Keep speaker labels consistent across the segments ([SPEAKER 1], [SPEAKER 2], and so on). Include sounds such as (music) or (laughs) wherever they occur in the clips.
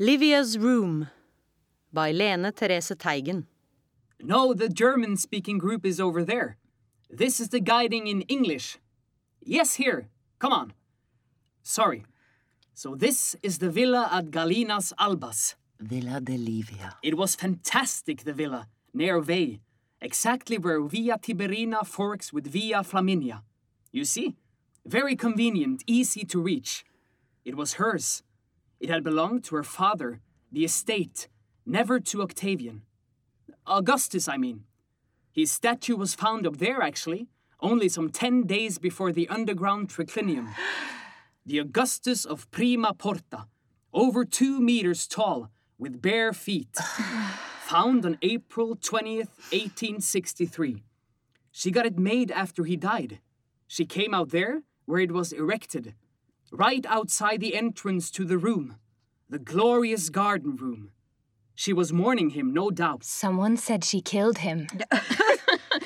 [SPEAKER 1] Livia's Room by Lene Therese Teigen.
[SPEAKER 2] No, the German speaking group is over there. This is the guiding in English. Yes, here. Come on. Sorry. So, this is the villa at Galinas Albas.
[SPEAKER 3] Villa Delivia.
[SPEAKER 2] It was fantastic, the villa, near Vey, exactly where Via Tiberina forks with Via Flaminia. You see? Very convenient, easy to reach. It was hers. It had belonged to her father, the estate, never to Octavian. Augustus, I mean. His statue was found up there, actually, only some ten days before the underground triclinium. The Augustus of Prima Porta, over two meters tall, with bare feet, found on April 20th, 1863. She got it made after he died. She came out there, where it was erected, right outside the entrance to the room, the glorious garden room. She was mourning him, no doubt.
[SPEAKER 4] Someone said she killed him.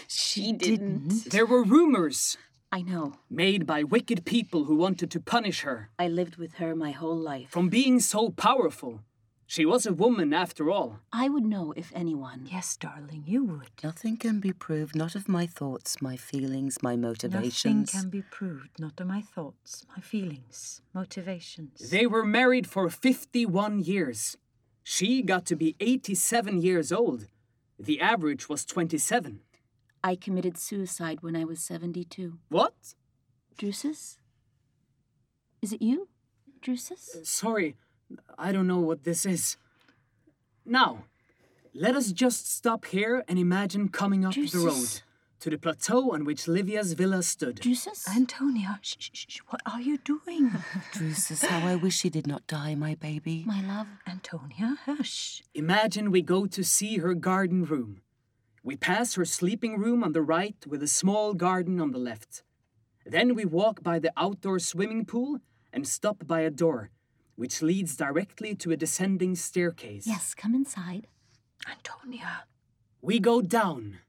[SPEAKER 5] She didn't.
[SPEAKER 2] There were rumors
[SPEAKER 5] I know.
[SPEAKER 2] made by wicked people who wanted to punish her
[SPEAKER 5] I lived with her my whole life.
[SPEAKER 2] from being so powerful. She was a woman after all.
[SPEAKER 5] I would know if anyone.
[SPEAKER 1] Yes, darling, you would.
[SPEAKER 3] Nothing can be proved, not of my thoughts, my feelings, my
[SPEAKER 1] Nothing
[SPEAKER 3] motivations.
[SPEAKER 1] can be proved, not of my thoughts, my feelings, motivations.
[SPEAKER 2] They were married for 51 years. She got to be 87 years old. The average was 27.
[SPEAKER 5] I committed suicide when I was 72.
[SPEAKER 2] What?
[SPEAKER 5] Drusus? Is it you? Drusus?
[SPEAKER 2] Sorry, I don't know what this is. Now, let us just stop here and imagine coming up the road
[SPEAKER 5] Jesus.
[SPEAKER 2] to the plateau on which Livia's villa stood.
[SPEAKER 5] Drusus?
[SPEAKER 1] Antonia, shh, shh, shh, what are you
[SPEAKER 3] (laughs)
[SPEAKER 1] doing?
[SPEAKER 3] Drusus, how I wish he did not die, my baby.
[SPEAKER 5] My love.
[SPEAKER 1] Antonia, hush.
[SPEAKER 2] Imagine we go to see her garden room. We pass her sleeping room on the right with a small garden on the left. Then we walk by the outdoor swimming pool and stop by a door, which leads directly to a descending staircase.
[SPEAKER 5] Yes, come inside.
[SPEAKER 1] Antonia.
[SPEAKER 2] We go down.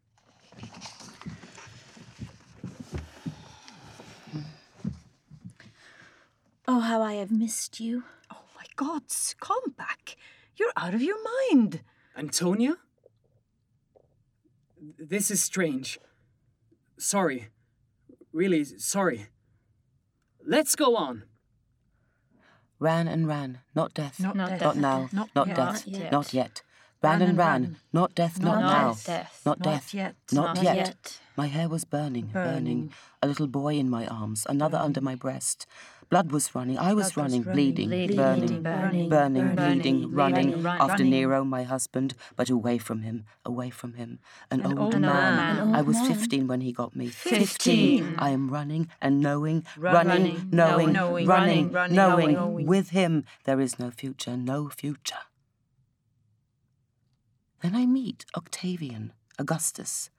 [SPEAKER 5] Oh, how I have missed you.
[SPEAKER 1] Oh my gods, come back. You're out of your mind.
[SPEAKER 2] Antonia? This is strange. Sorry. Really sorry. Let's go on.
[SPEAKER 3] Ran and ran, not death.
[SPEAKER 6] Not Not death.
[SPEAKER 3] Not
[SPEAKER 6] death.
[SPEAKER 3] now.
[SPEAKER 6] Not
[SPEAKER 3] Not
[SPEAKER 6] yet.
[SPEAKER 3] death.
[SPEAKER 5] Not yet.
[SPEAKER 3] Not yet. Ran and ran, not death, not
[SPEAKER 6] Not
[SPEAKER 3] now.
[SPEAKER 6] death.
[SPEAKER 3] Not
[SPEAKER 6] Not
[SPEAKER 3] death.
[SPEAKER 6] yet.
[SPEAKER 3] Not
[SPEAKER 5] Not
[SPEAKER 3] yet.
[SPEAKER 5] yet.
[SPEAKER 3] My hair was burning, burning.
[SPEAKER 6] Burning.
[SPEAKER 3] A little boy in my arms, another under my breast. Blood was running, I was running, bleeding,
[SPEAKER 6] bleeding, burning,
[SPEAKER 3] burning, burning,
[SPEAKER 6] burning,
[SPEAKER 3] bleeding,
[SPEAKER 6] bleeding,
[SPEAKER 3] running
[SPEAKER 6] running,
[SPEAKER 3] after
[SPEAKER 6] running.
[SPEAKER 3] Nero, my husband, but away from him, away from him. An, old,
[SPEAKER 6] old
[SPEAKER 3] man.
[SPEAKER 6] man.
[SPEAKER 5] An old
[SPEAKER 3] I was
[SPEAKER 5] man.
[SPEAKER 3] 15 when he got me.
[SPEAKER 6] 15.
[SPEAKER 3] I am running and knowing,
[SPEAKER 6] Run-
[SPEAKER 3] running,
[SPEAKER 6] running,
[SPEAKER 3] knowing,
[SPEAKER 6] knowing, running,
[SPEAKER 3] running,
[SPEAKER 6] running,
[SPEAKER 3] knowing.
[SPEAKER 6] knowing.
[SPEAKER 3] With him, there is no future, no future. Then I meet Octavian, Augustus.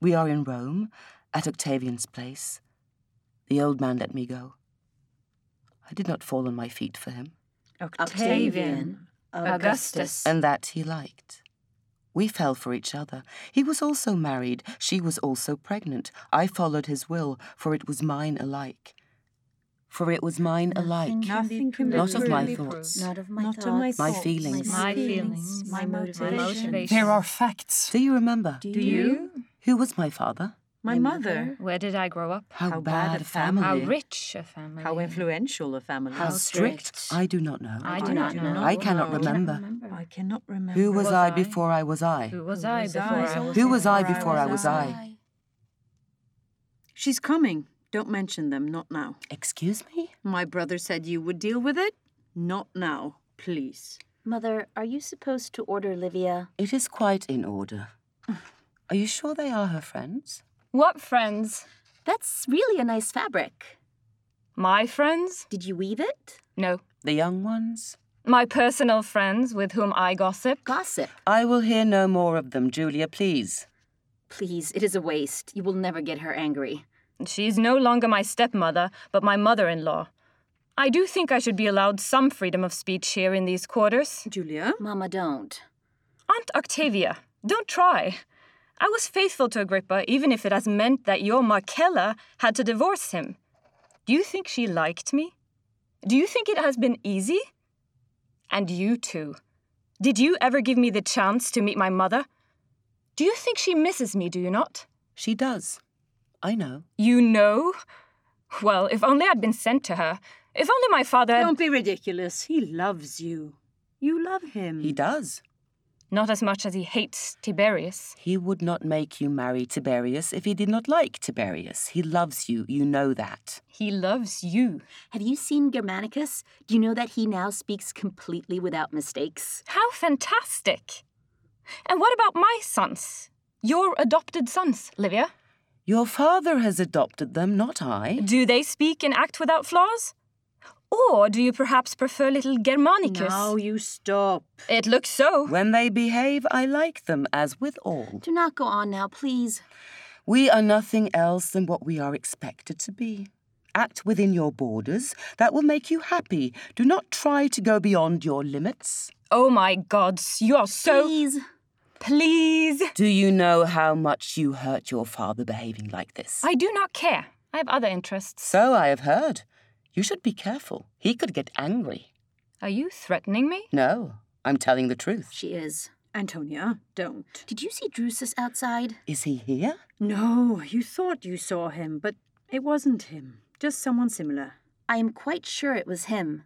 [SPEAKER 3] We are in Rome, at Octavian's place. The old man let me go. I did not fall on my feet for him,
[SPEAKER 6] Octavian. Augustus.
[SPEAKER 3] and that he liked. We fell for each other. He was also married. She was also pregnant. I followed his will, for it was mine alike. For it was mine alike.
[SPEAKER 6] Nothing can be
[SPEAKER 3] Not of my
[SPEAKER 6] really
[SPEAKER 3] thoughts.
[SPEAKER 5] Not of my
[SPEAKER 6] Not
[SPEAKER 5] thoughts.
[SPEAKER 6] of my
[SPEAKER 3] My thoughts, feelings.
[SPEAKER 6] My feelings,
[SPEAKER 5] My
[SPEAKER 6] my
[SPEAKER 5] motivation.
[SPEAKER 6] motivation.
[SPEAKER 2] There are facts.
[SPEAKER 3] Do you remember?
[SPEAKER 5] Do
[SPEAKER 6] Do you?
[SPEAKER 3] Who was my father?
[SPEAKER 6] My mother.
[SPEAKER 7] Where did I grow up?
[SPEAKER 3] How,
[SPEAKER 6] How
[SPEAKER 3] bad,
[SPEAKER 6] bad
[SPEAKER 3] a
[SPEAKER 6] a family.
[SPEAKER 3] family.
[SPEAKER 7] How rich a family.
[SPEAKER 6] How influential a family.
[SPEAKER 3] How strict?
[SPEAKER 5] strict?
[SPEAKER 3] I do not know.
[SPEAKER 7] I do not know.
[SPEAKER 3] I cannot
[SPEAKER 6] know.
[SPEAKER 3] remember.
[SPEAKER 6] Oh, I cannot remember.
[SPEAKER 3] Who was,
[SPEAKER 7] was
[SPEAKER 3] I
[SPEAKER 7] I?
[SPEAKER 3] before I was I?
[SPEAKER 7] Who was I
[SPEAKER 6] was
[SPEAKER 7] before
[SPEAKER 6] I?
[SPEAKER 7] I was?
[SPEAKER 3] Who was I before I was I?
[SPEAKER 6] She's coming. Don't mention them. Not now.
[SPEAKER 3] Excuse me?
[SPEAKER 6] My brother said you would deal with it. Not now, please.
[SPEAKER 5] Mother, are you supposed to order Livia?
[SPEAKER 3] It is quite in order. (sighs) Are you sure they are her friends?
[SPEAKER 7] What friends?
[SPEAKER 5] That's really a nice fabric.
[SPEAKER 7] My friends?
[SPEAKER 5] Did you weave it?
[SPEAKER 7] No.
[SPEAKER 3] The young ones?
[SPEAKER 7] My personal friends with whom I gossip?
[SPEAKER 5] Gossip.
[SPEAKER 3] I will hear no more of them, Julia, please.
[SPEAKER 5] Please, it is a waste. You will never get her angry.
[SPEAKER 7] She is no longer my stepmother, but my mother in law. I do think I should be allowed some freedom of speech here in these quarters.
[SPEAKER 6] Julia?
[SPEAKER 5] Mama, don't.
[SPEAKER 7] Aunt Octavia, don't try. I was faithful to Agrippa, even if it has meant that your Marcella had to divorce him. Do you think she liked me? Do you think it has been easy? And you too. Did you ever give me the chance to meet my mother? Do you think she misses me, do you not?
[SPEAKER 3] She does. I know.
[SPEAKER 7] You know? Well, if only I'd been sent to her. If only my father. had-
[SPEAKER 6] Don't be ridiculous. He loves you. You love
[SPEAKER 8] Um,
[SPEAKER 6] him.
[SPEAKER 3] He does.
[SPEAKER 7] Not as much as he hates Tiberius.
[SPEAKER 3] He would not make you marry Tiberius if he did not like Tiberius. He loves you, you know that.
[SPEAKER 7] He loves you.
[SPEAKER 5] Have you seen Germanicus? Do you know that he now speaks completely without mistakes?
[SPEAKER 7] How fantastic! And what about my sons? Your adopted sons, Livia?
[SPEAKER 3] Your father has adopted them, not I.
[SPEAKER 7] Do they speak and act without flaws? Or do you perhaps prefer little Germanicus?
[SPEAKER 6] Now you stop.
[SPEAKER 7] It looks so.
[SPEAKER 3] When they behave, I like them, as with all.
[SPEAKER 5] Do not go on now, please.
[SPEAKER 3] We are nothing else than what we are expected to be. Act within your borders. That will make you happy. Do not try to go beyond your limits.
[SPEAKER 7] Oh my gods, you are so.
[SPEAKER 5] Please.
[SPEAKER 7] Please!
[SPEAKER 3] Do you know how much you hurt your father behaving like this?
[SPEAKER 7] I do not care. I have other interests.
[SPEAKER 3] So I have heard. You should be careful. He could get angry.
[SPEAKER 7] Are you threatening me?
[SPEAKER 3] No, I'm telling the truth.
[SPEAKER 5] She is.
[SPEAKER 6] Antonia, don't.
[SPEAKER 5] Did you see Drusus outside?
[SPEAKER 3] Is he here?
[SPEAKER 6] No, you thought you saw him, but it wasn't him. Just someone similar.
[SPEAKER 5] I am quite sure it was him.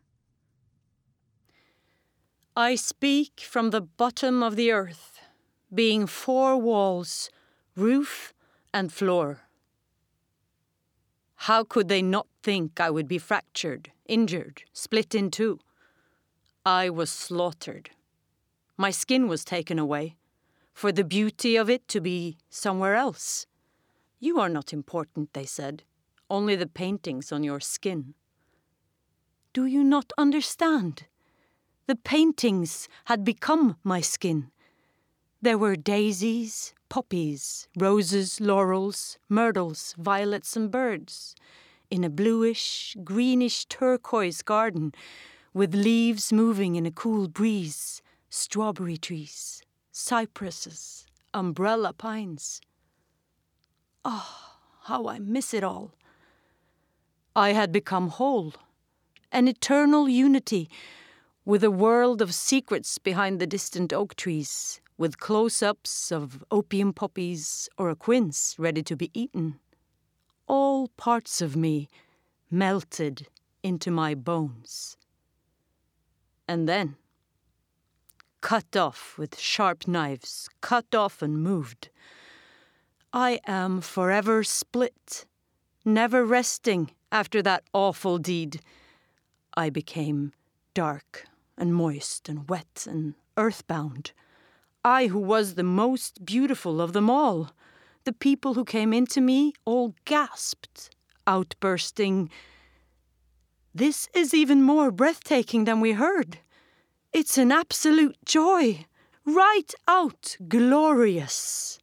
[SPEAKER 8] I speak from the bottom of the earth, being four walls, roof, and floor. How could they not think I would be fractured, injured, split in two? I was slaughtered. My skin was taken away, for the beauty of it to be somewhere else. You are not important, they said, only the paintings on your skin. Do you not understand? The paintings had become my skin. There were daisies, poppies, roses, laurels, myrtles, violets, and birds in a bluish, greenish turquoise garden with leaves moving in a cool breeze, strawberry trees, cypresses, umbrella pines. Ah, how I miss it all. I had become whole, an eternal unity with a world of secrets behind the distant oak trees, with close ups of opium poppies or a quince ready to be eaten. All parts of me melted into my bones. And then, cut off with sharp knives, cut off and moved, I am forever split, never resting after that awful deed. I became dark and moist and wet and earthbound. I, who was the most beautiful of them all. The people who came into me all gasped, outbursting. This is even more breathtaking than we heard. It's an absolute joy, right out glorious.